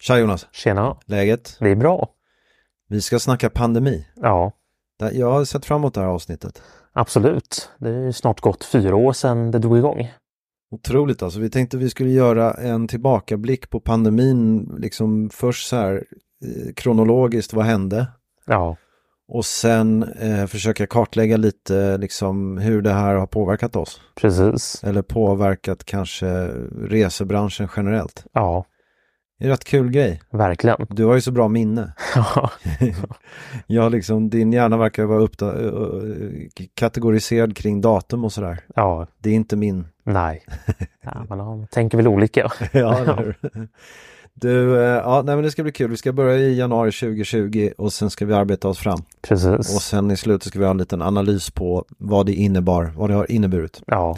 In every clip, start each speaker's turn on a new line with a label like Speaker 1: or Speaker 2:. Speaker 1: Tja Jonas,
Speaker 2: Tjena,
Speaker 1: läget?
Speaker 2: det är bra.
Speaker 1: Vi ska snacka pandemi.
Speaker 2: Ja,
Speaker 1: Det- Jag har sett fram emot det här avsnittet.
Speaker 2: absolut. Det är ju snart gått fyra år sedan det drog igång.
Speaker 1: Otroligt alltså, vi tänkte vi skulle göra en tillbakablick på pandemin, liksom först så här eh, kronologiskt, vad hände?
Speaker 2: Ja,
Speaker 1: Och sen eh, försöka kartlägga lite liksom hur det här har påverkat oss.
Speaker 2: precis.
Speaker 1: Eller påverkat kanske resebranschen generellt.
Speaker 2: Ja,
Speaker 1: Det är en rätt kul grej.
Speaker 2: verkligen.
Speaker 1: Du har ju så bra minne.
Speaker 2: Ja,
Speaker 1: ja, liksom din hjärna verkar vara uppta- ö- ö- k- kategoriserad kring datum och sådär.
Speaker 2: ja
Speaker 1: Det är inte min.
Speaker 2: nej. Ja, men de tänker väl olika.
Speaker 1: ja, eller hur? Du, eh, ja, nej men det ska bli kul. Vi ska börja i januari 2020 och sen ska vi arbeta oss fram. Och
Speaker 2: Precis.
Speaker 1: sen i slutet ska vi ha en liten analys på vad det innebar, vad det har inneburit.
Speaker 2: Ja,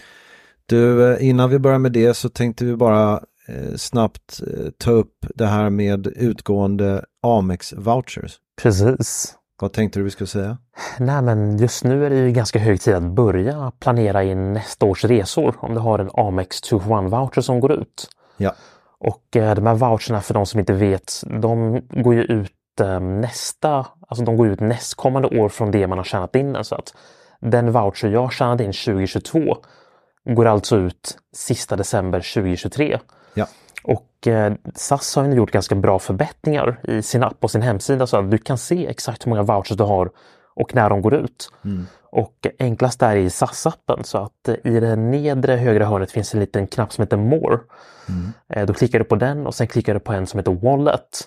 Speaker 1: Du, eh, innan vi börjar med det så tänkte vi bara eh, snabbt eh, ta upp det här med utgående Amex-vouchers.
Speaker 2: precis.
Speaker 1: Vad tänkte du vi skulle säga?
Speaker 2: Nej, men just nu är det ju ganska hög tid att börja planera in nästa års resor om du har en Amex 2-1-voucher som går ut.
Speaker 1: Ja.
Speaker 2: Och eh, de här voucherna för de som inte vet, de går ju ut eh, nästa, alltså de går ut nästkommande år från det man har tjänat in. den, Så att den voucher jag tjänade in 2022 går alltså ut sista december 2023.
Speaker 1: Ja.
Speaker 2: Och eh, SAS har ju nu gjort ganska bra förbättringar i sin app och sin hemsida så att du kan se exakt hur många vouchers du har och när de går ut. Och enklast är i SAS-appen så att eh, i det nedre högra hörnet finns en liten knapp som heter More. Eh, Då klickar du på den och sen klickar du på en som heter Wallet.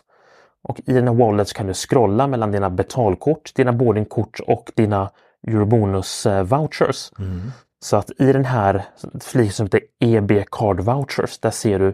Speaker 2: Och i den här Wallet så kan du scrolla mellan dina betalkort, dina boardingkort och dina Eurobonus-vouchers. Så att i den här fliken som heter EB Card Vouchers, där ser du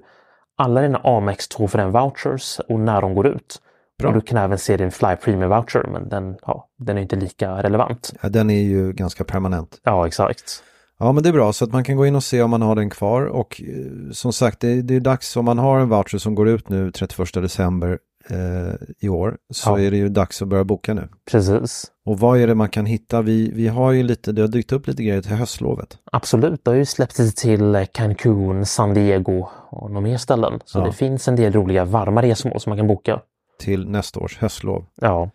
Speaker 2: alla dina Amex 2 för den vouchers och när de går ut.
Speaker 1: Bra.
Speaker 2: Och du kan även se din Fly Premium Voucher, men den, ja, den är inte lika relevant.
Speaker 1: Ja, den är ju ganska permanent.
Speaker 2: Ja, exakt.
Speaker 1: Ja, men det är bra så att man kan gå in och se om man har den kvar och eh, som sagt, det, det är dags om man har en voucher som går ut nu 31 december eh, i år så
Speaker 2: Ja.
Speaker 1: är det ju dags att börja boka nu.
Speaker 2: Precis.
Speaker 1: Och vad är det man kan hitta? Vi, vi har ju lite, det har dykt upp lite grejer till höstlovet.
Speaker 2: Absolut, det har ju släppts till Cancun, San Diego och några mer ställen. Så
Speaker 1: Ja.
Speaker 2: det finns en del roliga varma resmål som man kan boka.
Speaker 1: till nästa års höstlov.
Speaker 2: Ja,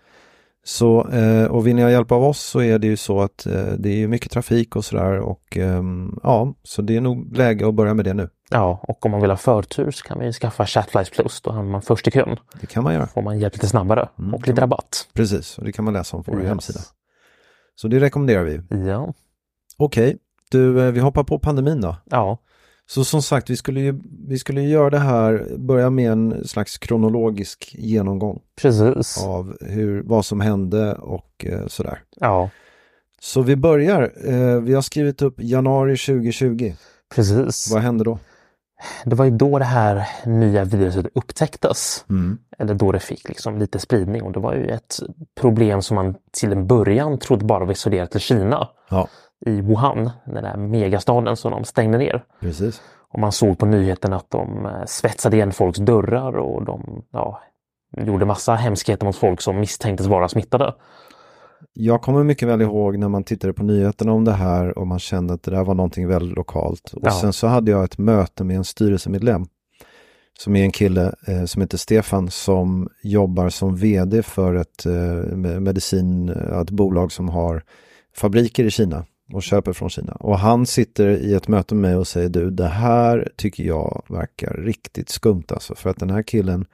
Speaker 1: Så, eh, och vill ni ha hjälp av oss så är det ju så att eh, det är ju mycket trafik och sådär och ehm, ja, så det är nog läge att börja med det nu.
Speaker 2: ja, och om man vill ha förtur så kan man ju skaffa Chatflies Plus. Då hamnar man först i kön.
Speaker 1: Det kan man göra,
Speaker 2: Får man hjälp lite snabbare
Speaker 1: Mm,
Speaker 2: och
Speaker 1: kan
Speaker 2: lite
Speaker 1: man.
Speaker 2: rabatt.
Speaker 1: precis, och det kan man läsa om på vår
Speaker 2: Yes.
Speaker 1: hemsida. Så det rekommenderar vi.
Speaker 2: Ja,
Speaker 1: Okej, du, eh, vi hoppar på pandemin då.
Speaker 2: ja,
Speaker 1: Så som sagt, vi skulle ju, vi skulle ju göra det här, börja med en slags kronologisk genomgång
Speaker 2: precis. Ja,
Speaker 1: av hur, vad som hände och eh, sådär.
Speaker 2: ja
Speaker 1: Så vi börjar, eh, vi har skrivit upp januari 2020.
Speaker 2: precis.
Speaker 1: Vad hände då?
Speaker 2: Det var ju då det här nya viruset upptäcktes. Eller då det fick liksom lite spridning. Och det var ju ett problem som man till en början trodde bara var isolerat till Kina.
Speaker 1: Ja,
Speaker 2: i Wuhan, den där megastaden som de stängde ner.
Speaker 1: precis.
Speaker 2: Och man såg på nyheterna att de eh, svetsade igen folks dörrar och de ja, gjorde massa hemskheter mot folk som misstänktes vara smittade.
Speaker 1: Jag kommer mycket väl ihåg när man tittade på nyheterna om det här och man kände att det där var någonting väldigt lokalt. Och
Speaker 2: Ja.
Speaker 1: sen så hade jag ett möte med en styrelsemedlem som är en kille eh, som heter Stefan som jobbar som vd för ett eh, me- medicin, eh, ett bolag som har fabriker i Kina och köper från Kina. Och han sitter i ett möte med mig och säger du, det här tycker jag verkar riktigt skumt alltså. För att den här killen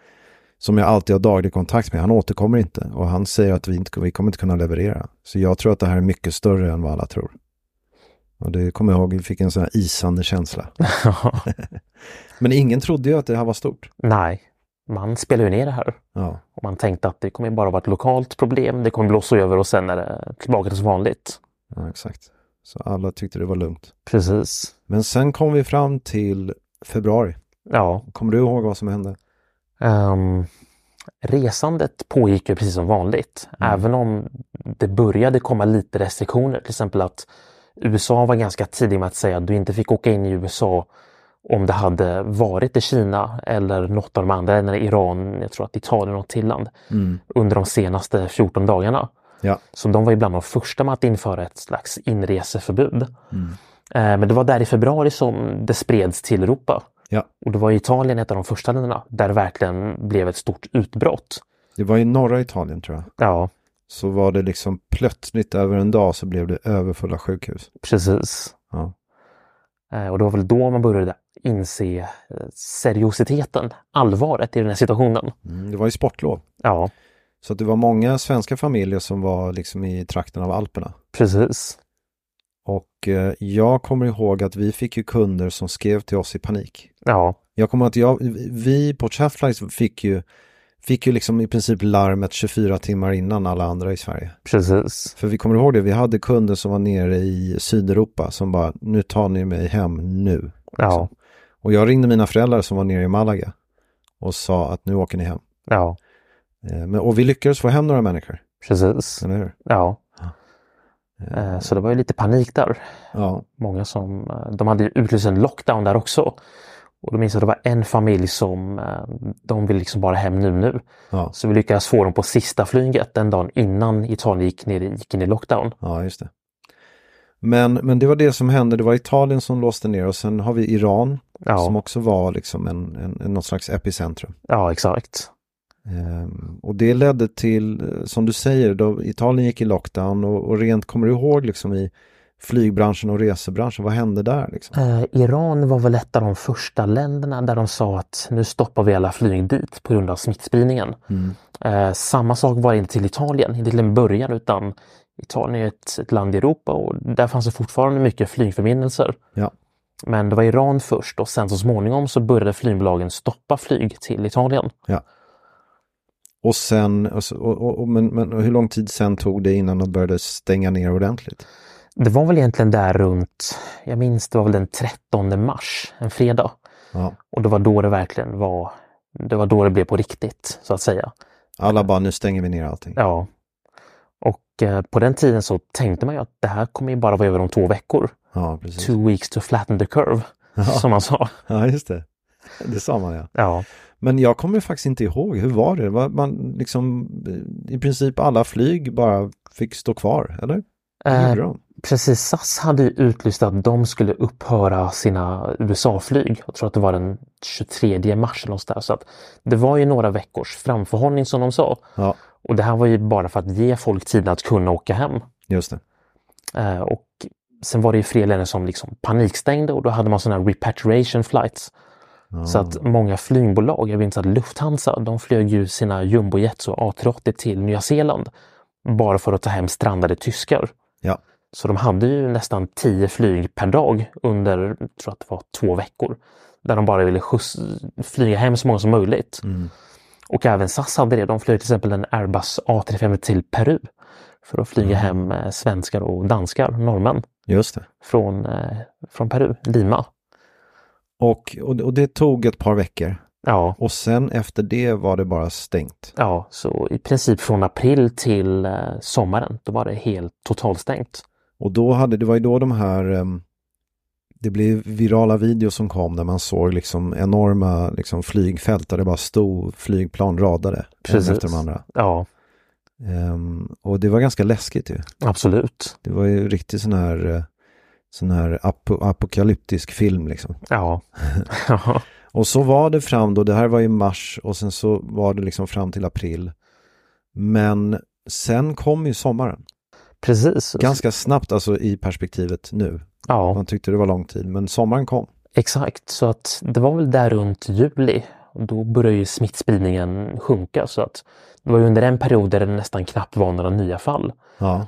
Speaker 1: som jag alltid har daglig kontakt med, han återkommer inte. Och han säger att vi, inte, vi kommer inte kunna leverera. Så jag tror att det här är mycket större än vad alla tror. Och det kommer jag ihåg, vi fick en sån här isande känsla. Men ingen trodde ju att det här var stort.
Speaker 2: Nej, man spelar ju ner det här.
Speaker 1: Ja,
Speaker 2: Och man tänkte att det kommer bara vara ett lokalt problem, det kommer blåsa över och sen är det tillbaka till som vanligt.
Speaker 1: ja exakt. Så alla tyckte det var lugnt.
Speaker 2: Precis.
Speaker 1: Men sen kom vi fram till februari.
Speaker 2: Ja.
Speaker 1: Kommer du ihåg vad som hände?
Speaker 2: Ehm, resandet pågick ju precis som vanligt, även om det började komma lite restriktioner. Till exempel att USA var ganska tidig med att säga att du inte fick åka in i USA om det hade varit i Kina eller något av de andra länderna, Iran, jag tror att Italien och något till land, under de senaste 14 dagarna.
Speaker 1: Ja,
Speaker 2: Så de var ju bland de första med att införa ett slags inreseförbud. Eh, Men det var där i februari som det spreds till Europa.
Speaker 1: ja.
Speaker 2: Och det var Italien ett av de första länderna där det verkligen blev ett stort utbrott.
Speaker 1: Det var i norra Italien tror jag.
Speaker 2: Ja,
Speaker 1: Så var det liksom plötsligt över en dag så blev det överfulla sjukhus.
Speaker 2: precis.
Speaker 1: Ja,
Speaker 2: Eh, Och det var väl då man började inse eh, seriositeten, allvaret i den här situationen.
Speaker 1: mm, det var ju sportlov.
Speaker 2: Ja,
Speaker 1: Så att det var många svenska familjer som var liksom i trakten av Alperna.
Speaker 2: precis.
Speaker 1: Och eh, jag kommer ihåg att vi fick ju kunder som skrev till oss i panik.
Speaker 2: Ja,
Speaker 1: Jag kommer ihåg att jag, vi på Chatflies fick ju, fick ju liksom i princip larmet 24 timmar innan alla andra i Sverige.
Speaker 2: precis.
Speaker 1: För vi kommer ihåg det, vi hade kunder som var nere i Sydeuropa som bara, nu tar ni mig hem nu.
Speaker 2: Ja,
Speaker 1: Och jag ringde mina föräldrar som var nere i Malaga och sa att nu åker ni hem.
Speaker 2: ja,
Speaker 1: Eh, Men, och vi lyckades få hem några människor,
Speaker 2: precis.
Speaker 1: eller hur?
Speaker 2: Ja. Eh, Så det var ju lite panik där.
Speaker 1: Ja,
Speaker 2: många som, eh, de hade ju utlyst en lockdown där också. Och då minns jag att det var en familj som, eh, de vill liksom bara hem nu nu.
Speaker 1: ja,
Speaker 2: Så vi lyckades få dem på sista flyget den dagen innan Italien gick, ner, gick in i lockdown.
Speaker 1: ja just det. Men, men det var det som hände, det var Italien som låste ner och sen har vi Iran som
Speaker 2: Ja,
Speaker 1: också var liksom en, en, en, något slags epicentrum.
Speaker 2: ja exakt.
Speaker 1: Ehm, och det ledde till, eh, som du säger, då Italien gick i lockdown och, och rent, kommer du ihåg liksom i flygbranschen och resebranschen, vad hände där liksom?
Speaker 2: Eh, Iran var väl ett av de första länderna där de sa att nu stoppar vi alla flyg dit på grund av smittspridningen. Eh, samma sak var det inte till Italien, inte till en början utan Italien är ju ett, ett land i Europa och där fanns det fortfarande mycket flygförbindelser.
Speaker 1: Ja,
Speaker 2: Men det var Iran först och sen så småningom så började flygbolagen stoppa flyg till Italien.
Speaker 1: ja. Och sen, och, så- och, och, och, men, men hur lång tid sen tog det innan de började stänga ner ordentligt?
Speaker 2: Det var väl egentligen där runt, jag minns det var väl den 13 mars, en fredag.
Speaker 1: Ja,
Speaker 2: Och det var då det verkligen var, det var då det blev på riktigt så att säga.
Speaker 1: alla bara, nu stänger vi ner allting.
Speaker 2: Ja. Och eh, på den tiden så tänkte man ju att det här kommer ju bara vara över om två veckor.
Speaker 1: Ja, precis.
Speaker 2: Two weeks to flatten the curve, som man sa.
Speaker 1: Ja, just det. Det sa man ja.
Speaker 2: Ja,
Speaker 1: Men jag kommer faktiskt inte ihåg, hur var det? Var man liksom, eh, i princip alla flyg bara fick stå kvar, eller? Hur
Speaker 2: Eh,
Speaker 1: gjorde de?
Speaker 2: Precis, SAS hade ju utlyst att de skulle upphöra sina USA-flyg. Jag tror att det var den 23 mars eller något sånt där. Så att det var ju några veckors framförhållning som de sa.
Speaker 1: Ja,
Speaker 2: Och det här var ju bara för att ge folk tid att kunna åka hem.
Speaker 1: just det.
Speaker 2: Eh, och sen var det ju fler länder som liksom panikstängde och då hade man sådana här repatriation flights. Så att många flygbolag, jag minns att Lufthansa, de flög ju sina jumbojets och A380 till Nya Zeeland. Bara för att ta hem strandade tyskar.
Speaker 1: Ja,
Speaker 2: Så de hade ju nästan 10 flyg per dag under, jag tror att det var två veckor. Där de bara ville skjuts, flyga hem så många som möjligt.
Speaker 1: Mm.
Speaker 2: Och även SAS hade det. De flög till exempel en Airbus A350 till Peru. För att
Speaker 1: Mm.
Speaker 2: flyga hem eh, svenskar och danskar, norrmän,
Speaker 1: just det.
Speaker 2: från, eh, från Peru, Lima.
Speaker 1: Och, och, och det tog ett par veckor.
Speaker 2: Ja,
Speaker 1: Och sen efter det var det bara stängt.
Speaker 2: ja, så i princip från april till eh, sommaren, då var det helt totalstängt.
Speaker 1: Och då hade, det var ju då de här em, ehm, det blev virala videos som kom där man såg liksom enorma liksom flygfält där det bara stod flygplan radade. En efter de andra.
Speaker 2: Ja,
Speaker 1: Ehm, och det var ganska läskigt ju.
Speaker 2: absolut.
Speaker 1: Det var ju riktigt sån här, eh, sån här apo- apokalyptisk film liksom.
Speaker 2: Ja. ja.
Speaker 1: Och så var det fram då, det här var i mars och sen så var det liksom fram till april. Men sen kom ju sommaren.
Speaker 2: Precis.
Speaker 1: Ganska snabbt alltså i perspektivet nu.
Speaker 2: Ja,
Speaker 1: Man tyckte det var lång tid, men sommaren kom.
Speaker 2: exakt. Så att det var väl där runt juli. Och Då började ju smittspridningen sjunka. Så att det var ju under den perioden där det nästan knappt var några nya fall.
Speaker 1: Ja.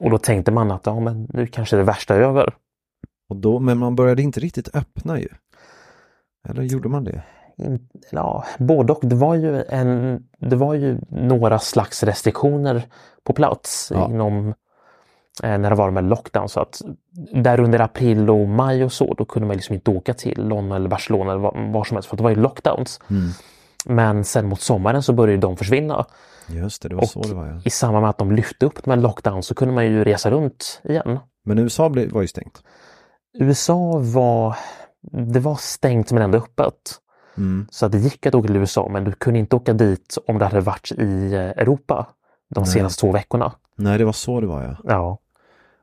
Speaker 2: Och då tänkte man att ja, men nu kanske det värsta är över.
Speaker 1: Och då, men man började inte riktigt öppna ju. Eller gjorde man det?
Speaker 2: In- Ja, både och. Det var, ju en, det var ju några slags restriktioner på plats
Speaker 1: Ja.
Speaker 2: inom eh, när det var med lockdown. Så att där under april och maj och så, då kunde man liksom inte åka till London eller Barcelona eller var, var som helst för att det var ju lockdowns. Men sen mot sommaren så började ju de försvinna.
Speaker 1: Just det, det var så det var ja.
Speaker 2: I samband med att de lyfte upp de här lockdowns så kunde man ju resa runt igen.
Speaker 1: Men USA blev, var ju stängt.
Speaker 2: USA var, det var stängt men ändå öppet. Så att det gick att åka till USA men du kunde inte åka dit om det hade varit i eh, Europa de senaste två veckorna.
Speaker 1: Nej, det var så det var ja.
Speaker 2: Ja,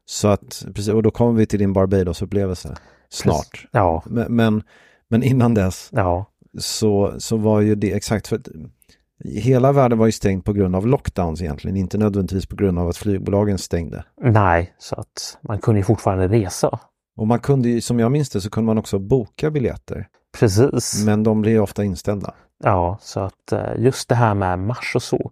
Speaker 1: Så att, precis, och då kommer vi till din Barbados-upplevelse snart.
Speaker 2: ja,
Speaker 1: Men, men, men innan dess
Speaker 2: ja,
Speaker 1: så, så var ju det exakt för att hela världen var ju stängd på grund av lockdowns egentligen, inte nödvändigtvis på grund av att flygbolagen stängde.
Speaker 2: nej, så att man kunde ju fortfarande resa.
Speaker 1: Och man kunde ju, som jag minns det, så kunde man också boka biljetter,
Speaker 2: Precis.
Speaker 1: men de blev ju ofta inställda.
Speaker 2: Ja, så att eh, just det här med mars och så.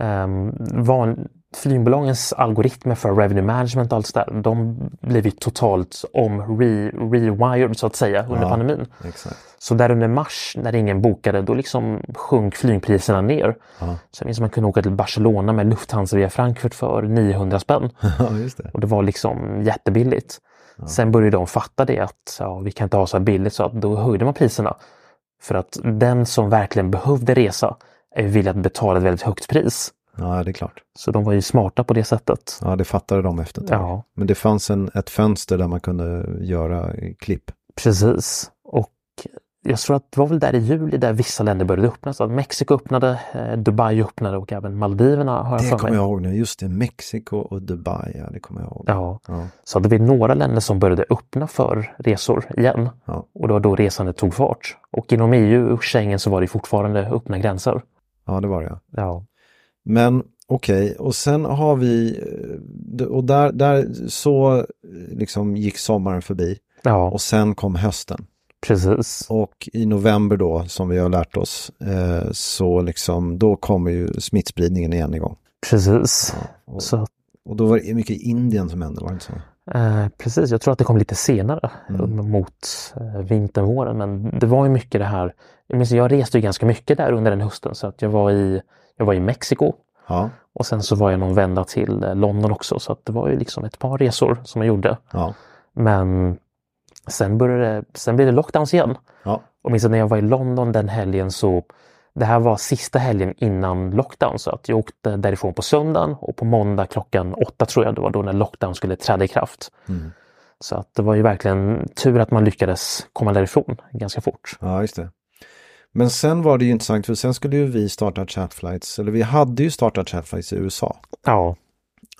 Speaker 2: ehm, var en, flygbolagens algoritmer för revenue management och allt det där, de blev ju totalt om re, rewired så att säga under
Speaker 1: Ja.
Speaker 2: pandemin.
Speaker 1: Exakt.
Speaker 2: Så där under mars när ingen bokade då liksom sjönk flygpriserna ner.
Speaker 1: Ja.
Speaker 2: Sen minns man kunde åka till Barcelona med Lufthansa via Frankfurt för 900 spänn.
Speaker 1: ja, just det.
Speaker 2: Och det var liksom jättebilligt. Sen började de fatta det att ja, vi kan inte ha så här billigt så att då höjde man priserna. För att den som verkligen behövde resa är ju villig att betala ett väldigt högt pris.
Speaker 1: Ja, det är klart.
Speaker 2: Så de var ju smarta på det sättet.
Speaker 1: Ja, det fattade de efter ett tag.
Speaker 2: Ja.
Speaker 1: Men det fanns en, ett fönster där man kunde göra eh, klipp.
Speaker 2: Precis. Och jag tror att det var väl där i juli där vissa länder började öppna. Så att Mexiko öppnade, eh, Dubai öppnade och även Maldiverna har jag
Speaker 1: Det
Speaker 2: för
Speaker 1: kommer
Speaker 2: mig.
Speaker 1: jag ihåg nu, just det, Mexiko och Dubai, ja, det kommer jag ihåg.
Speaker 2: Ja.
Speaker 1: Ja.
Speaker 2: Så det var några länder som började öppna för resor igen.
Speaker 1: Ja.
Speaker 2: Och det var då resandet tog fart. Och inom EU och Schengen så var det fortfarande öppna gränser.
Speaker 1: ja, det var det. ja.
Speaker 2: Ja,
Speaker 1: Men okej, och sen har vi, eh, och där, där så eh, liksom gick sommaren förbi
Speaker 2: ja
Speaker 1: och sen kom hösten.
Speaker 2: precis.
Speaker 1: Och i november då, som vi har lärt oss, eh, så liksom då kommer ju smittspridningen igen igång.
Speaker 2: Precis.
Speaker 1: Och,
Speaker 2: Så,
Speaker 1: och då var det mycket i Indien som hände, var det inte så?
Speaker 2: eh, precis. Jag tror att det kom lite senare mot eh, vintern, våren. Men det var ju mycket det här. Jag, minns, jag reste ju ganska mycket där under den hösten. Så att jag var i, jag var i Mexiko.
Speaker 1: Ja,
Speaker 2: Och sen så var jag någon vända till eh, London också. Så att det var ju liksom ett par resor som jag gjorde.
Speaker 1: ja,
Speaker 2: Men sen, började, det- sen blev det lockdowns igen.
Speaker 1: ja,
Speaker 2: Och minns att när jag var i London den helgen så det här var sista helgen innan lockdown så att jag åkte därifrån på söndagen och på måndag klockan åtta tror jag det var då när lockdown skulle träda i kraft. Så att det var ju verkligen tur att man lyckades komma därifrån ganska fort.
Speaker 1: ja, just det. Men sen var det ju intressant, för sen skulle ju vi starta Chatflights, eller vi hade ju startat Chatflights i USA.
Speaker 2: Ja,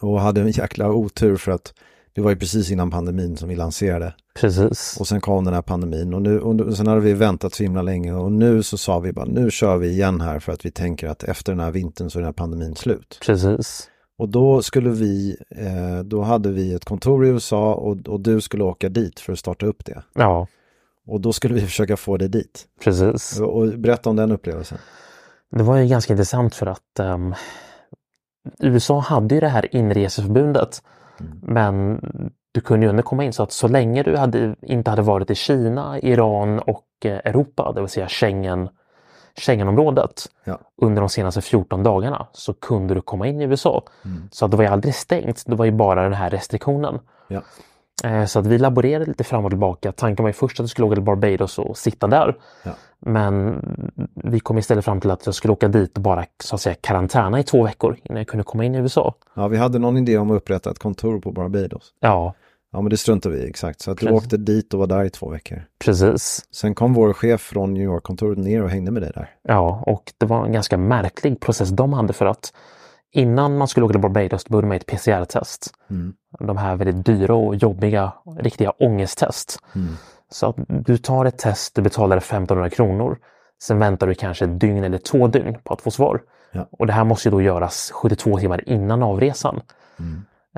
Speaker 1: Och hade en jäkla otur för att det var ju precis innan pandemin som vi lanserade.
Speaker 2: precis.
Speaker 1: Och sen kom den här pandemin och, nu, och nu- sen hade vi väntat så himla länge och nu så sa vi bara nu kör vi igen här för att vi tänker att efter den här vintern så är den här pandemin slut.
Speaker 2: Precis.
Speaker 1: Och då skulle vi, eh, då hade vi ett kontor i USA och, och du skulle åka dit för att starta upp det.
Speaker 2: Ja,
Speaker 1: Och då skulle vi försöka få dig dit.
Speaker 2: precis.
Speaker 1: Och, och berätta om den upplevelsen.
Speaker 2: Det var ju ganska intressant för att ehm, USA hade ju det här inreseförbudet. Men du kunde ju ändå komma in så att så länge du hade, inte hade varit i Kina, Iran och eh, Europa, det vill säga Schengen, Schengenområdet
Speaker 1: Ja.
Speaker 2: under de senaste 14 dagarna så kunde du komma in i USA. Så att det var ju aldrig stängt, det var ju bara den här restriktionen.
Speaker 1: Ja.
Speaker 2: Eh, Så att vi laborerade lite fram och tillbaka. Tanken var ju först att du skulle åka till Barbados och sitta där.
Speaker 1: Ja.
Speaker 2: Men vi kom istället fram till att jag skulle åka dit och bara så att säga karantäna i två veckor innan jag kunde komma in i USA.
Speaker 1: ja, vi hade någon idé om att upprätta ett kontor på Barbados.
Speaker 2: Ja,
Speaker 1: Ja, men det struntar vi i, exakt. Så att du
Speaker 2: Precis.
Speaker 1: åkte dit och var där i två veckor.
Speaker 2: Precis.
Speaker 1: Sen kom vår chef från New York-kontoret ner och hängde med dig där.
Speaker 2: Ja, och det var en ganska märklig process de hade för att innan man skulle åka till Barbados då började man med ett PCR-test. De här väldigt dyra och jobbiga, riktiga ångesttest. Så att du tar ett test, du betalar 1500 kronor. Sen väntar du kanske ett dygn eller två dygn på att få svar.
Speaker 1: Ja.
Speaker 2: Och det här måste ju då göras 72 timmar innan avresan.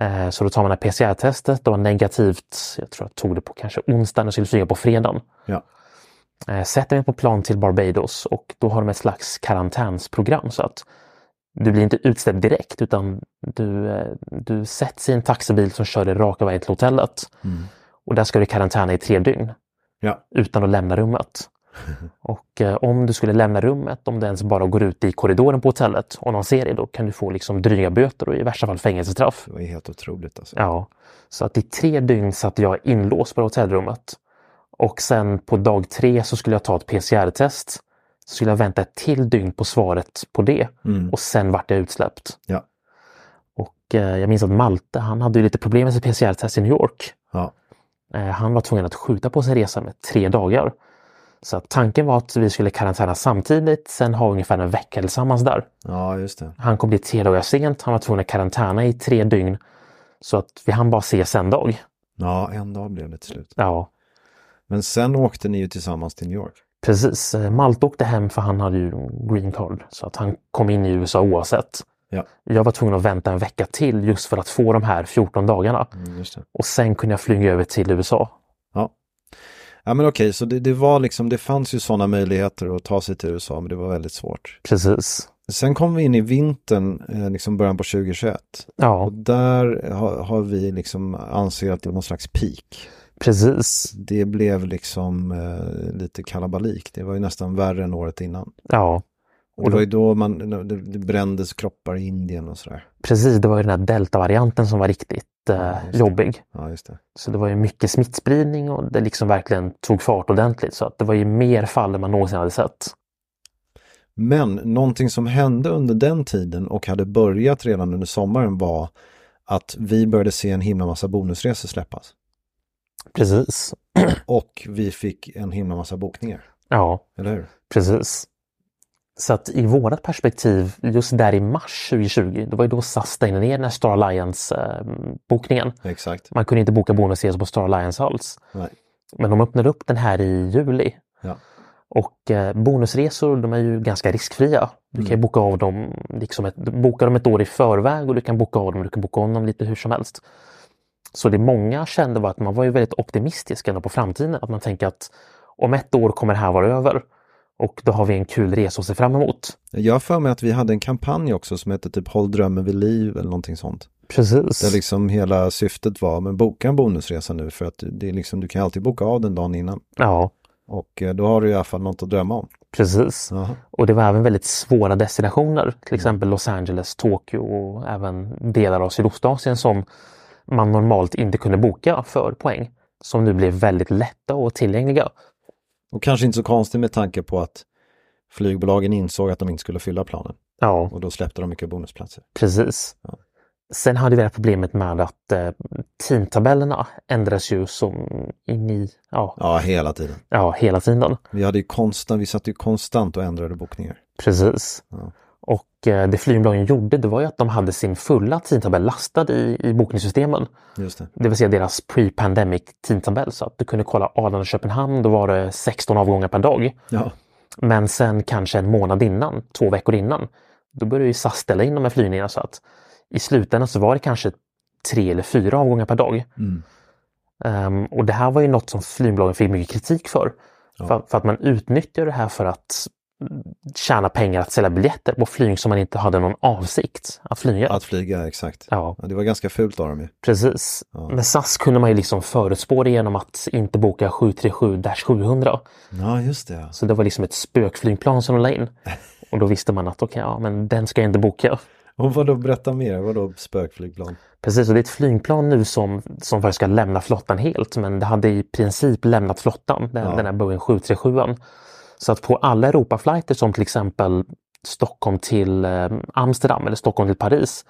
Speaker 2: Eh, Så då tar man det här PCR-testet, det var negativt, jag tror jag tog det på kanske onsdagen och skulle flyga på fredagen.
Speaker 1: Ja.
Speaker 2: Eh, sätter mig på plan till Barbados och då har de ett slags karantänsprogram så att du blir inte utsläppt direkt utan du, eh, du sätts i en taxibil som kör dig raka vägen till hotellet. Och där ska du karantäna i tre dygn
Speaker 1: Ja.
Speaker 2: utan att lämna rummet. Och eh, om du skulle lämna rummet, om du ens bara går ut i korridoren på hotellet och någon ser dig, då kan du få liksom dryga böter och i värsta fall fängelsestraff.
Speaker 1: Det var ju helt otroligt alltså.
Speaker 2: Ja, så att i tre dygn satt jag inlåst på det hotellrummet. Och sen på dag tre så skulle jag ta ett PCR-test. Så skulle jag vänta ett till dygn på svaret på det och sen vart jag utsläppt.
Speaker 1: Ja.
Speaker 2: Och eh, jag minns att Malte, han hade ju lite problem med sitt PCR-test i New York.
Speaker 1: Ja.
Speaker 2: Eh, han var tvungen att skjuta på sin resa med tre dagar. Så att tanken var att vi skulle karantäna samtidigt, sen ha ungefär en vecka tillsammans där.
Speaker 1: ja, just det.
Speaker 2: Han kom dit tre dagar sent, han var tvungen att karantäna i tre dygn. Så att vi hann bara ses en dag.
Speaker 1: Ja, en dag blev det till slut.
Speaker 2: Ja,
Speaker 1: Men sen åkte ni ju tillsammans till New York.
Speaker 2: precis. Eh, Malte åkte hem för han hade ju green card. Så att han kom in i USA oavsett.
Speaker 1: Ja,
Speaker 2: Jag var tvungen att vänta en vecka till just för att få de här 14 dagarna.
Speaker 1: mm, just det.
Speaker 2: Och sen kunde jag flyga över till USA.
Speaker 1: Ja. Ja, men okej, så det, det var liksom, det fanns ju sådana möjligheter att ta sig till USA, men det var väldigt svårt.
Speaker 2: Precis.
Speaker 1: Sen kom vi in i vintern, eh, liksom början på 2021.
Speaker 2: Ja,
Speaker 1: Och där har, har vi liksom ansett någon slags peak.
Speaker 2: precis.
Speaker 1: Det blev liksom eh, lite kalabalik. Det var ju nästan värre än året innan.
Speaker 2: Ja,
Speaker 1: Och det var ju då man, det, det brändes kroppar i Indien och sådär.
Speaker 2: precis. Det var ju den här delta-varianten som var riktigt eh,
Speaker 1: just det.
Speaker 2: jobbig.
Speaker 1: Ja, just det.
Speaker 2: Så det var ju mycket smittspridning och det liksom verkligen tog fart ordentligt. Så att det var ju mer fall än man någonsin hade sett.
Speaker 1: Men någonting som hände under den tiden och hade börjat redan under sommaren var att vi började se en himla massa bonusresor släppas.
Speaker 2: Precis.
Speaker 1: Och vi fick en himla massa bokningar,
Speaker 2: Ja,
Speaker 1: eller hur?
Speaker 2: precis. Så att i vårat perspektiv, just där i mars 2020, det var ju då SAS stängde ner den här Star Alliance-bokningen.
Speaker 1: Exakt.
Speaker 2: Man kunde inte boka bonusresor på Star Alliance alls.
Speaker 1: Nej.
Speaker 2: Men de öppnade upp den här i juli.
Speaker 1: Ja.
Speaker 2: Och eh, bonusresor, de är ju ganska riskfria. Du kan ju boka av dem, liksom ett, boka dem ett år i förväg och du kan boka av dem, du kan boka om dem lite hur som helst. Så det många kände var att man var ju väldigt optimistisk ändå på framtiden. Att man tänker att om ett år kommer det här vara över och då har vi en kul resa att se fram emot.
Speaker 1: Jag har för mig att vi hade en kampanj också som hette typ Håll drömmen vid liv eller någonting sånt. Där
Speaker 2: Precis.
Speaker 1: liksom hela syftet var, men boka en bonusresa nu för att det är liksom, du kan alltid boka av den dagen innan.
Speaker 2: Ja,
Speaker 1: Och eh, då har du i alla fall något att drömma om.
Speaker 2: precis.
Speaker 1: Jaha.
Speaker 2: Och det var även väldigt svåra destinationer, till exempel Los Angeles, Tokyo och även delar av Sydostasien som man normalt inte kunde boka för poäng, som nu blev väldigt lätta och tillgängliga.
Speaker 1: Och kanske inte så konstigt med tanke på att flygbolagen insåg att de inte skulle fylla planen.
Speaker 2: Ja,
Speaker 1: Och då släppte de mycket bonusplatser.
Speaker 2: precis. Sen hade vi det här problemet med att eh, teamtabellerna ändras ju som in i, ja,
Speaker 1: Ja, hela tiden.
Speaker 2: ja, hela tiden.
Speaker 1: Vi, hade ju konstant, vi satt ju konstant och ändrade bokningar.
Speaker 2: Precis. Och eh, det flygbolagen gjorde, det var ju att de hade sin fulla tidtabell lastad i, i bokningssystemen.
Speaker 1: Just det.
Speaker 2: det vill säga deras pre-pandemic tidtabell. Så att du kunde kolla Arlanda och Köpenhamn, då var det 16 avgångar per dag.
Speaker 1: Ja,
Speaker 2: Men sen kanske en månad innan, två veckor innan, då började ju SAS ställa in de här flygningarna så att i slutändan så var det kanske tre eller fyra avgångar per dag. Ehm, och det här var ju något som flygbolagen fick mycket kritik för. För, för att man utnyttjar det här för att tjäna pengar att sälja biljetter på flyg som man inte hade någon avsikt att flyga.
Speaker 1: att flyga exakt.
Speaker 2: Ja.
Speaker 1: det var ganska fult av dem ju.
Speaker 2: Precis. Med SAS kunde man ju liksom förutspå det genom att inte boka 737-700.
Speaker 1: Ja, just det.
Speaker 2: Så det var liksom ett spökflygplan som de la in. Och då visste man att okej, ja, men den ska jag inte boka.
Speaker 1: Och vadå, berätta mer, vadå spökflygplan?
Speaker 2: Precis, och det är ett flygplan nu som, som faktiskt ska lämna flottan helt, men det hade i princip lämnat flottan, den, den här Boeing 737. Så att på alla Europaflighter som till exempel Stockholm till eh, Amsterdam eller Stockholm till Paris,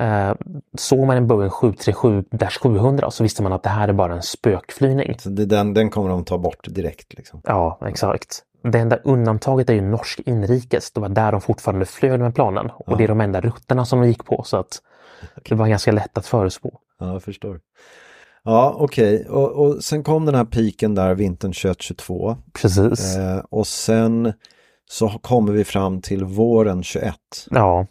Speaker 2: Eh, såg man en Boeing 737-700 så visste man att det här är bara en spökflygning.
Speaker 1: Så det, den, den kommer de ta bort direkt liksom.
Speaker 2: Ja, exakt. Det enda undantaget är ju norsk inrikes. Det var där de fortfarande flög med planen och det är de enda rutterna som de gick på så att det var ganska lätt att förutspå.
Speaker 1: Ja, jag förstår. Ja, okej. Och, och sen kom den här piken där vintern 2022.
Speaker 2: Precis.
Speaker 1: Eh, och sen så kommer vi fram till våren 21.
Speaker 2: Ja,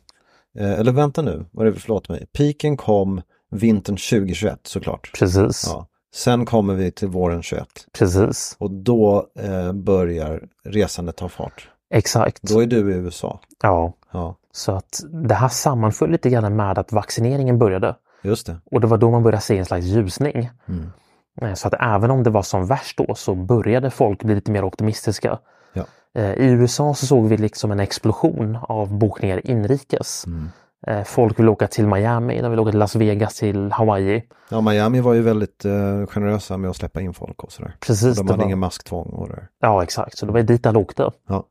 Speaker 1: Eh, eller vänta nu, vad är det, förlåt mig. Piken kom vintern 2021 såklart.
Speaker 2: precis.
Speaker 1: Ja. Sen kommer vi till våren 21
Speaker 2: Precis.
Speaker 1: och då eh, börjar resandet ta fart.
Speaker 2: Exakt.
Speaker 1: Då är du i USA.
Speaker 2: Ja,
Speaker 1: Ja,
Speaker 2: så att det här sammanföll lite grann med att vaccineringen började.
Speaker 1: just det.
Speaker 2: Och det var då man började se en slags ljusning.
Speaker 1: Mm.
Speaker 2: Eh, Så att även om det var som värst då så började folk bli lite mer optimistiska.
Speaker 1: Ja.
Speaker 2: Eh, I USA så såg vi liksom en explosion av bokningar inrikes.
Speaker 1: Mm.
Speaker 2: Eh, Folk vill åka till Miami, de vill åka till Las Vegas, till Hawaii.
Speaker 1: Ja, Miami var ju väldigt eh, generösa med att släppa in folk och sådär.
Speaker 2: Precis,
Speaker 1: De
Speaker 2: det
Speaker 1: hade
Speaker 2: var-
Speaker 1: ingen masktvång och det där.
Speaker 2: Ja exakt, så det var dit alla åkte.
Speaker 1: Ja.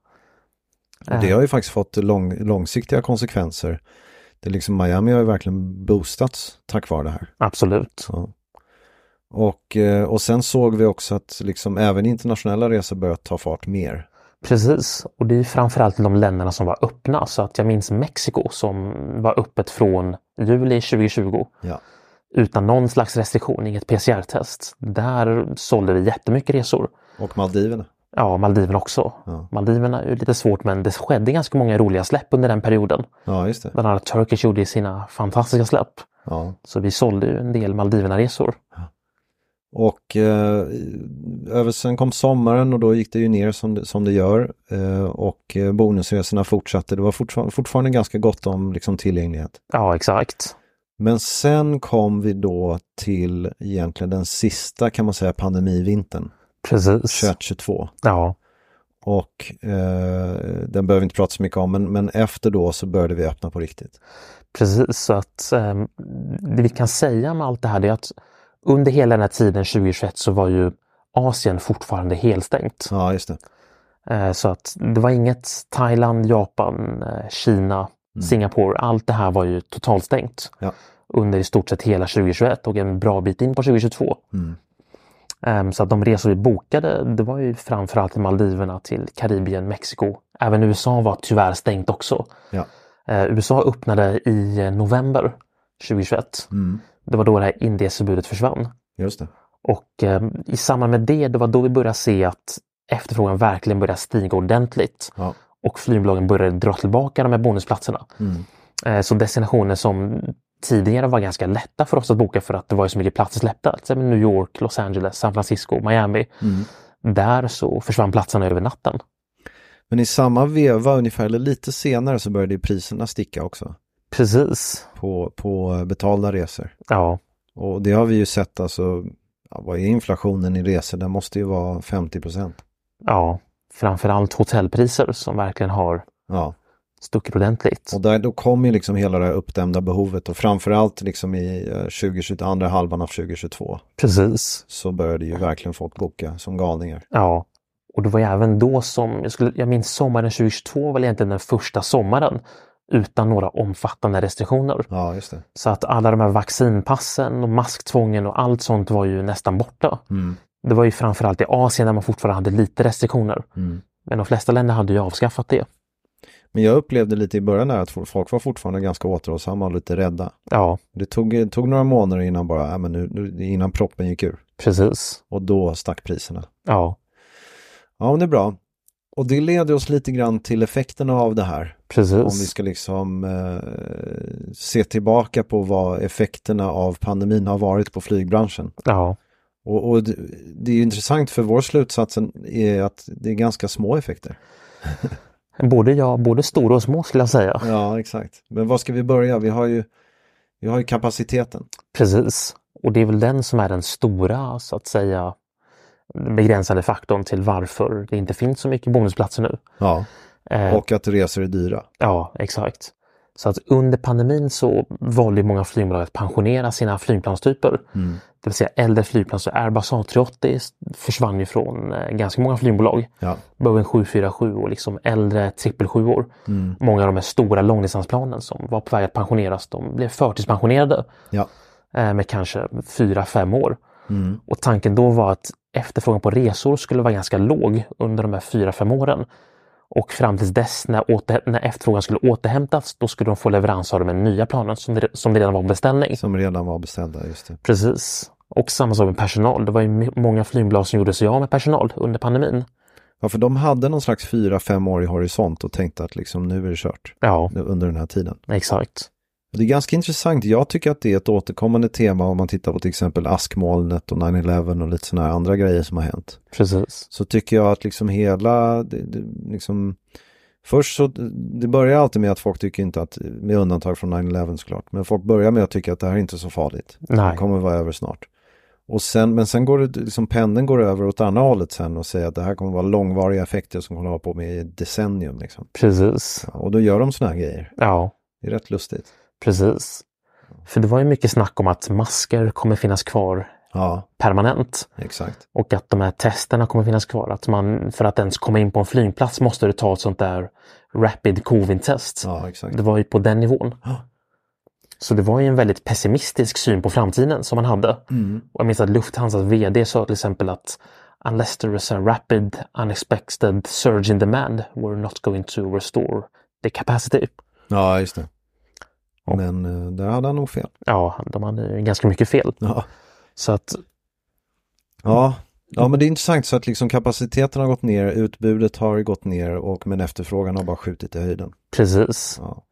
Speaker 1: Och det har ju faktiskt fått lång, långsiktiga konsekvenser. Det är liksom Miami har ju verkligen boostats tack vare det här.
Speaker 2: Absolut.
Speaker 1: Så. Och, eh, och sen såg vi också att liksom även internationella resor börjat ta fart mer.
Speaker 2: Precis, och det är framförallt de länderna som var öppna. Så att jag minns Mexiko som var öppet från juli 2020
Speaker 1: Ja,
Speaker 2: utan någon slags restriktion, inget PCR-test. Där sålde vi jättemycket resor.
Speaker 1: och Maldiverna.
Speaker 2: Ja, Maldiven också.
Speaker 1: Ja.
Speaker 2: Maldiverna är ju lite svårt men det skedde ganska många roliga släpp under den perioden.
Speaker 1: Ja, just det.
Speaker 2: Bland annat Turkish gjorde sina fantastiska släpp.
Speaker 1: Ja.
Speaker 2: Så vi sålde ju en del Maldiverna-resor.
Speaker 1: Och eh, över, sen kom sommaren och då gick det ju ner som det, som det gör. Eh, och eh, bonusresorna fortsatte. Det var fortfar- fortfarande ganska gott om liksom, tillgänglighet.
Speaker 2: Ja, exakt.
Speaker 1: Men sen kom vi då till egentligen den sista kan man säga pandemivintern
Speaker 2: Precis.
Speaker 1: 2022.
Speaker 2: Ja,
Speaker 1: Och eh, den behöver vi inte prata så mycket om men, men efter då så började vi öppna på riktigt.
Speaker 2: precis. Så att eh, det vi kan säga med allt det här är att under hela den här tiden 2021 så var ju Asien fortfarande helstängt.
Speaker 1: Ja just det.
Speaker 2: Eh, Så att det var inget Thailand, Japan, eh, Kina, Singapore. Allt det här var ju totalstängt
Speaker 1: Ja.
Speaker 2: under i stort sett hela 2021 och en bra bit in på 2022. Ehm, Så att de resor vi bokade, det var ju framförallt till Maldiverna, till Karibien, Mexiko. Även USA var tyvärr stängt också.
Speaker 1: Ja.
Speaker 2: Eh, USA öppnade i eh, november 2021. Det var då det här inreseförbudet försvann.
Speaker 1: Mm. Just det.
Speaker 2: Och eh, i samband med det, det var då vi började se att efterfrågan verkligen började stiga ordentligt.
Speaker 1: Ja.
Speaker 2: Och flygbolagen började dra tillbaka de här bonusplatserna.
Speaker 1: Mm.
Speaker 2: Eh, så destinationer som tidigare var ganska lätta för oss att boka för att det var ju så mycket platser släppta. Till exempel New York, Los Angeles, San Francisco, Miami.
Speaker 1: Mm.
Speaker 2: Där så försvann platserna över natten.
Speaker 1: Men i samma veva ungefär eller lite senare så började ju priserna sticka också
Speaker 2: Precis.
Speaker 1: på, på betalda resor.
Speaker 2: Ja,
Speaker 1: Och det har vi ju sett alltså, ja, vad är inflationen i resor? Den måste ju vara 50 procent.
Speaker 2: ja. Framförallt hotellpriser som verkligen har
Speaker 1: Ja.
Speaker 2: stuckit ordentligt.
Speaker 1: Och där, då kom ju liksom hela det här uppdämda behovet och framförallt liksom i eh, 2022, andra halvan av 2022
Speaker 2: Precis.
Speaker 1: så började ju verkligen folk boka som galningar.
Speaker 2: Ja, och det var ju även då som, jag, skulle, jag minns sommaren 2022 var egentligen den första sommaren utan några omfattande restriktioner.
Speaker 1: Ja, just det.
Speaker 2: Så att alla de här vaccinpassen och masktvången och allt sånt var ju nästan borta.
Speaker 1: Mm.
Speaker 2: Det var ju framförallt i Asien där man fortfarande hade lite restriktioner.
Speaker 1: Mm.
Speaker 2: Men de flesta länder hade ju avskaffat det.
Speaker 1: Men jag upplevde lite i början där att folk var fortfarande ganska återhållsamma och lite rädda.
Speaker 2: Ja,
Speaker 1: Det tog, tog några månader innan bara, ja, men nu, nu, innan proppen gick ur.
Speaker 2: precis.
Speaker 1: Och då stack priserna.
Speaker 2: Ja,
Speaker 1: Ja, men det är bra. Och det leder oss lite grann till effekterna av det här. Om vi
Speaker 2: precis.
Speaker 1: ska liksom eh, se tillbaka på vad effekterna av pandemin har varit på flygbranschen.
Speaker 2: Ja,
Speaker 1: Och, och det, det är ju intressant för vår slutsatsen är att det är ganska små effekter.
Speaker 2: både, ja, både stora och små skulle jag säga.
Speaker 1: Ja, exakt. Men var ska vi börja? Vi har ju, vi har ju kapaciteten.
Speaker 2: Precis, och det är väl den som är den stora så att säga begränsande faktorn till varför det inte finns så mycket bonusplatser nu.
Speaker 1: Ja.
Speaker 2: Eh,
Speaker 1: Och att resor är dyra.
Speaker 2: Ja, exakt. Så att under pandemin så valde ju många flygbolag att pensionera sina flygplanstyper. Det vill säga äldre flygplan, så Airbus A380 försvann ju från eh, ganska många flygbolag.
Speaker 1: Ja.
Speaker 2: Boeing 747 och liksom äldre 777 mm. Många av de här stora långdistansplanen som var på väg att pensioneras, de blev förtidspensionerade
Speaker 1: Ja.
Speaker 2: eh, med kanske fyra fem år. Och tanken då var att efterfrågan på resor skulle vara ganska låg under de här fyra fem åren. Och fram tills dess när, åter, när efterfrågan skulle återhämtas, då skulle de få leverans av de här nya planen som det, som det redan var beställning.
Speaker 1: Som redan var beställda, just det.
Speaker 2: Precis. Och samma sak med personal. Det var ju my- många flygbolag som gjorde sig av med personal under pandemin.
Speaker 1: Ja, för de hade någon slags fyra, fem år i horisont och tänkte att liksom nu är det kört
Speaker 2: Ja,
Speaker 1: nu under den här tiden.
Speaker 2: exakt.
Speaker 1: Och Det är ganska intressant. Jag tycker att det är ett återkommande tema om man tittar på till exempel askmolnet och 9-11 och lite sådana här andra grejer som har hänt.
Speaker 2: Precis.
Speaker 1: så tycker jag att liksom hela, det, det, liksom, först så, det börjar alltid med att folk tycker inte att, med undantag från 9-11 såklart, men folk börjar med att tycka att det här är inte så farligt.
Speaker 2: Nej.
Speaker 1: Det kommer vara över snart. Och sen, men sen går det, liksom pendeln går över åt andra hållet sen och säger att det här kommer vara långvariga effekter som kommer hålla på med i ett decennium. Liksom.
Speaker 2: Precis.
Speaker 1: Ja, Och då gör de sådana här grejer.
Speaker 2: Ja,
Speaker 1: Det är rätt lustigt.
Speaker 2: precis. För det var ju mycket snack om att masker kommer finnas kvar
Speaker 1: Ja,
Speaker 2: permanent.
Speaker 1: exakt.
Speaker 2: Och att de här testerna kommer finnas kvar. Att man, för att ens komma in på en flygplats måste du ta ett sånt där rapid covid-test.
Speaker 1: Ja, exakt.
Speaker 2: Det var ju på den nivån.
Speaker 1: Ja.
Speaker 2: Så det var ju en väldigt pessimistisk syn på framtiden som man hade.
Speaker 1: Mm.
Speaker 2: Och jag minns att Lufthansas vd sa till exempel att Unless there is a rapid unexpected surge in demand we're not going to restore the capacity.
Speaker 1: Ja, just det.
Speaker 2: Ja.
Speaker 1: Men eh, där hade han nog fel.
Speaker 2: Ja, de hade ju ganska mycket fel.
Speaker 1: Ja.
Speaker 2: Så att,
Speaker 1: Ja. Mm. ja, men det är intressant så att liksom kapaciteten har gått ner, utbudet har gått ner och men efterfrågan har bara skjutit i höjden.
Speaker 2: precis.
Speaker 1: Ja,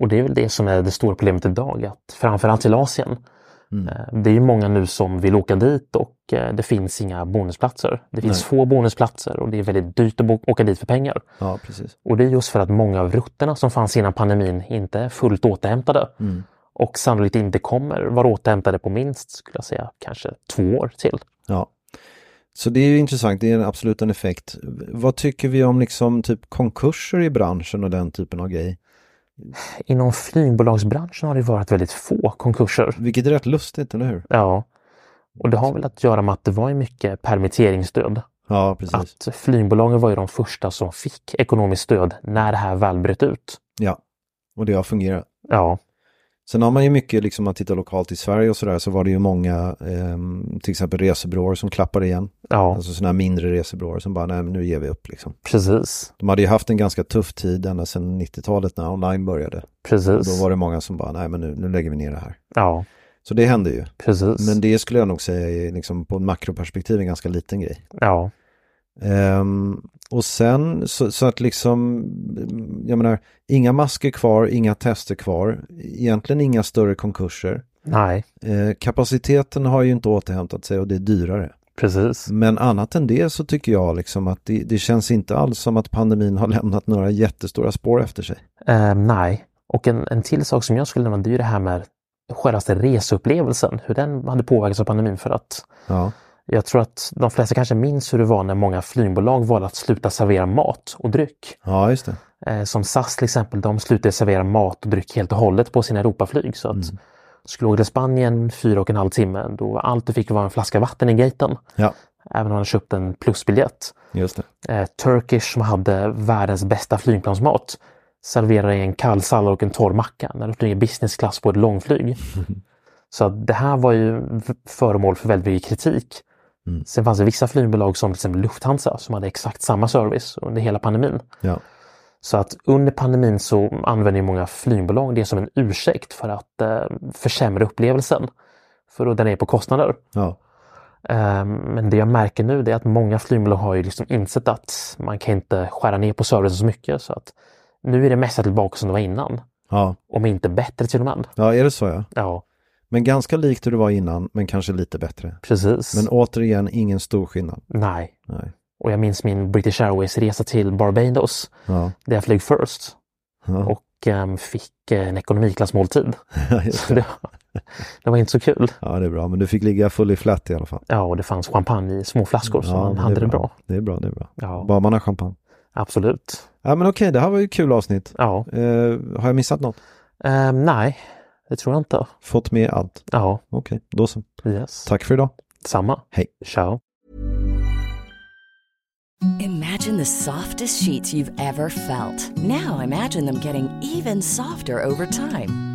Speaker 2: Och det är väl det som är det stora problemet idag, att framförallt till Asien. eh, Det är ju många nu som vill åka dit och eh, det finns inga bonusplatser. Det finns få bonusplatser och det är väldigt dyrt att bo- åka dit för pengar.
Speaker 1: ja precis.
Speaker 2: Och det är just för att många av rutterna som fanns innan pandemin inte är fullt återhämtade. Och sannolikt inte kommer vara återhämtade på minst, skulle jag säga, kanske två år till.
Speaker 1: Ja. Så det är ju intressant, det är en absolut en effekt. Vad tycker vi om liksom typ konkurser i branschen och den typen av grej?
Speaker 2: Inom flygbolagsbranschen har det varit väldigt få konkurser.
Speaker 1: Vilket är rätt lustigt, eller hur?
Speaker 2: Ja. Och det har väl att göra med att det var ju mycket permitteringsstöd.
Speaker 1: Ja, precis.
Speaker 2: att flygbolagen var ju de första som fick ekonomiskt stöd när det här väl bröt ut.
Speaker 1: Ja, och det har fungerat.
Speaker 2: Ja,
Speaker 1: Sen har man ju mycket, liksom man tittar lokalt i Sverige och sådär, så var det ju många, ehm, till exempel resebyråer som klappade igen.
Speaker 2: ja,
Speaker 1: Alltså sådana här mindre resebyråer som bara, nej men nu ger vi upp liksom.
Speaker 2: precis,
Speaker 1: De hade ju haft en ganska tuff tid ända sedan 90-talet när online började. Då
Speaker 2: precis.
Speaker 1: var det många som bara, nej men nu, nu lägger vi ner det här.
Speaker 2: Ja,
Speaker 1: Så det hände ju.
Speaker 2: precis.
Speaker 1: Men det skulle jag nog säga är liksom på makroperspektiv en ganska liten grej.
Speaker 2: Ja,
Speaker 1: Ehm, och sen så, så att liksom, mm, jag menar, inga masker kvar, inga tester kvar, egentligen inga större konkurser.
Speaker 2: nej,
Speaker 1: Eh, kapaciteten har ju inte återhämtat sig och det är dyrare.
Speaker 2: precis.
Speaker 1: Men annat än det så tycker jag liksom att det, det känns inte alls som att pandemin har lämnat några jättestora spår efter sig.
Speaker 2: Eh, nej, och en, en till sak som jag skulle nämna det är ju det här med självaste reseupplevelsen, hur den hade påverkats av pandemin för att
Speaker 1: Ja,
Speaker 2: jag tror att de flesta kanske minns hur det var när många flygbolag valde att sluta servera mat och dryck.
Speaker 1: ja just det.
Speaker 2: Eh, som SAS till exempel, de slutade servera mat och dryck helt och hållet på sina Europaflyg. Så att skulle du åka till Spanien fyra och en halv timme, då allt du fick var en flaska vatten i gaten.
Speaker 1: Ja,
Speaker 2: Även om man köpt en plusbiljett.
Speaker 1: just det.
Speaker 2: Eh, Turkish som hade världens bästa flygplansmat serverar dig en kall sallad och en torr macka när du flyger business class på ett långflyg. Så att det här var ju v- föremål för väldigt mycket kritik. Sen fanns det vissa flygbolag som till exempel Lufthansa som hade exakt samma service under hela pandemin.
Speaker 1: Ja.
Speaker 2: Så att under pandemin så använder ju många flygbolag det som en ursäkt för att eh, försämra upplevelsen. För att dra ner på kostnader.
Speaker 1: Ja,
Speaker 2: Eh, men det jag märker nu det är att många flygbolag har ju liksom insett att man kan inte skära ner på servicen så mycket. Så att nu är det mesta tillbaka som det var innan.
Speaker 1: ja.
Speaker 2: Om inte bättre till och med.
Speaker 1: ja är det så ja?
Speaker 2: Ja,
Speaker 1: Men ganska likt hur det var innan, men kanske lite bättre.
Speaker 2: precis.
Speaker 1: Men återigen, ingen stor skillnad.
Speaker 2: Nej.
Speaker 1: Nej.
Speaker 2: Och jag minns min British Airways-resa till Barbados
Speaker 1: Ja,
Speaker 2: där jag flög First
Speaker 1: ja.
Speaker 2: och eh, fick eh, en ekonomiklassmåltid.
Speaker 1: just
Speaker 2: Så det, var- det var inte så kul.
Speaker 1: ja, det är bra. Men du fick ligga full i flätt i alla fall.
Speaker 2: Ja, och det fanns champagne i små flaskor så
Speaker 1: ja,
Speaker 2: man
Speaker 1: men
Speaker 2: hade
Speaker 1: är
Speaker 2: det bra.
Speaker 1: Det är bra, det är bra.
Speaker 2: Ja,
Speaker 1: Bara man har champagne.
Speaker 2: absolut.
Speaker 1: Ja, men okej, det här var ju ett kul avsnitt.
Speaker 2: Ja.
Speaker 1: Eh, har jag missat något?
Speaker 2: Ehm, nej, Det tror jag inte.
Speaker 1: Fått med allt?
Speaker 2: Ja,
Speaker 1: Okej, då så.
Speaker 2: yes.
Speaker 1: Tack för idag.
Speaker 2: Samma.
Speaker 1: Hej.
Speaker 2: Ciao.
Speaker 3: Imagine the softest sheets you've ever felt. Now imagine them getting even softer over time.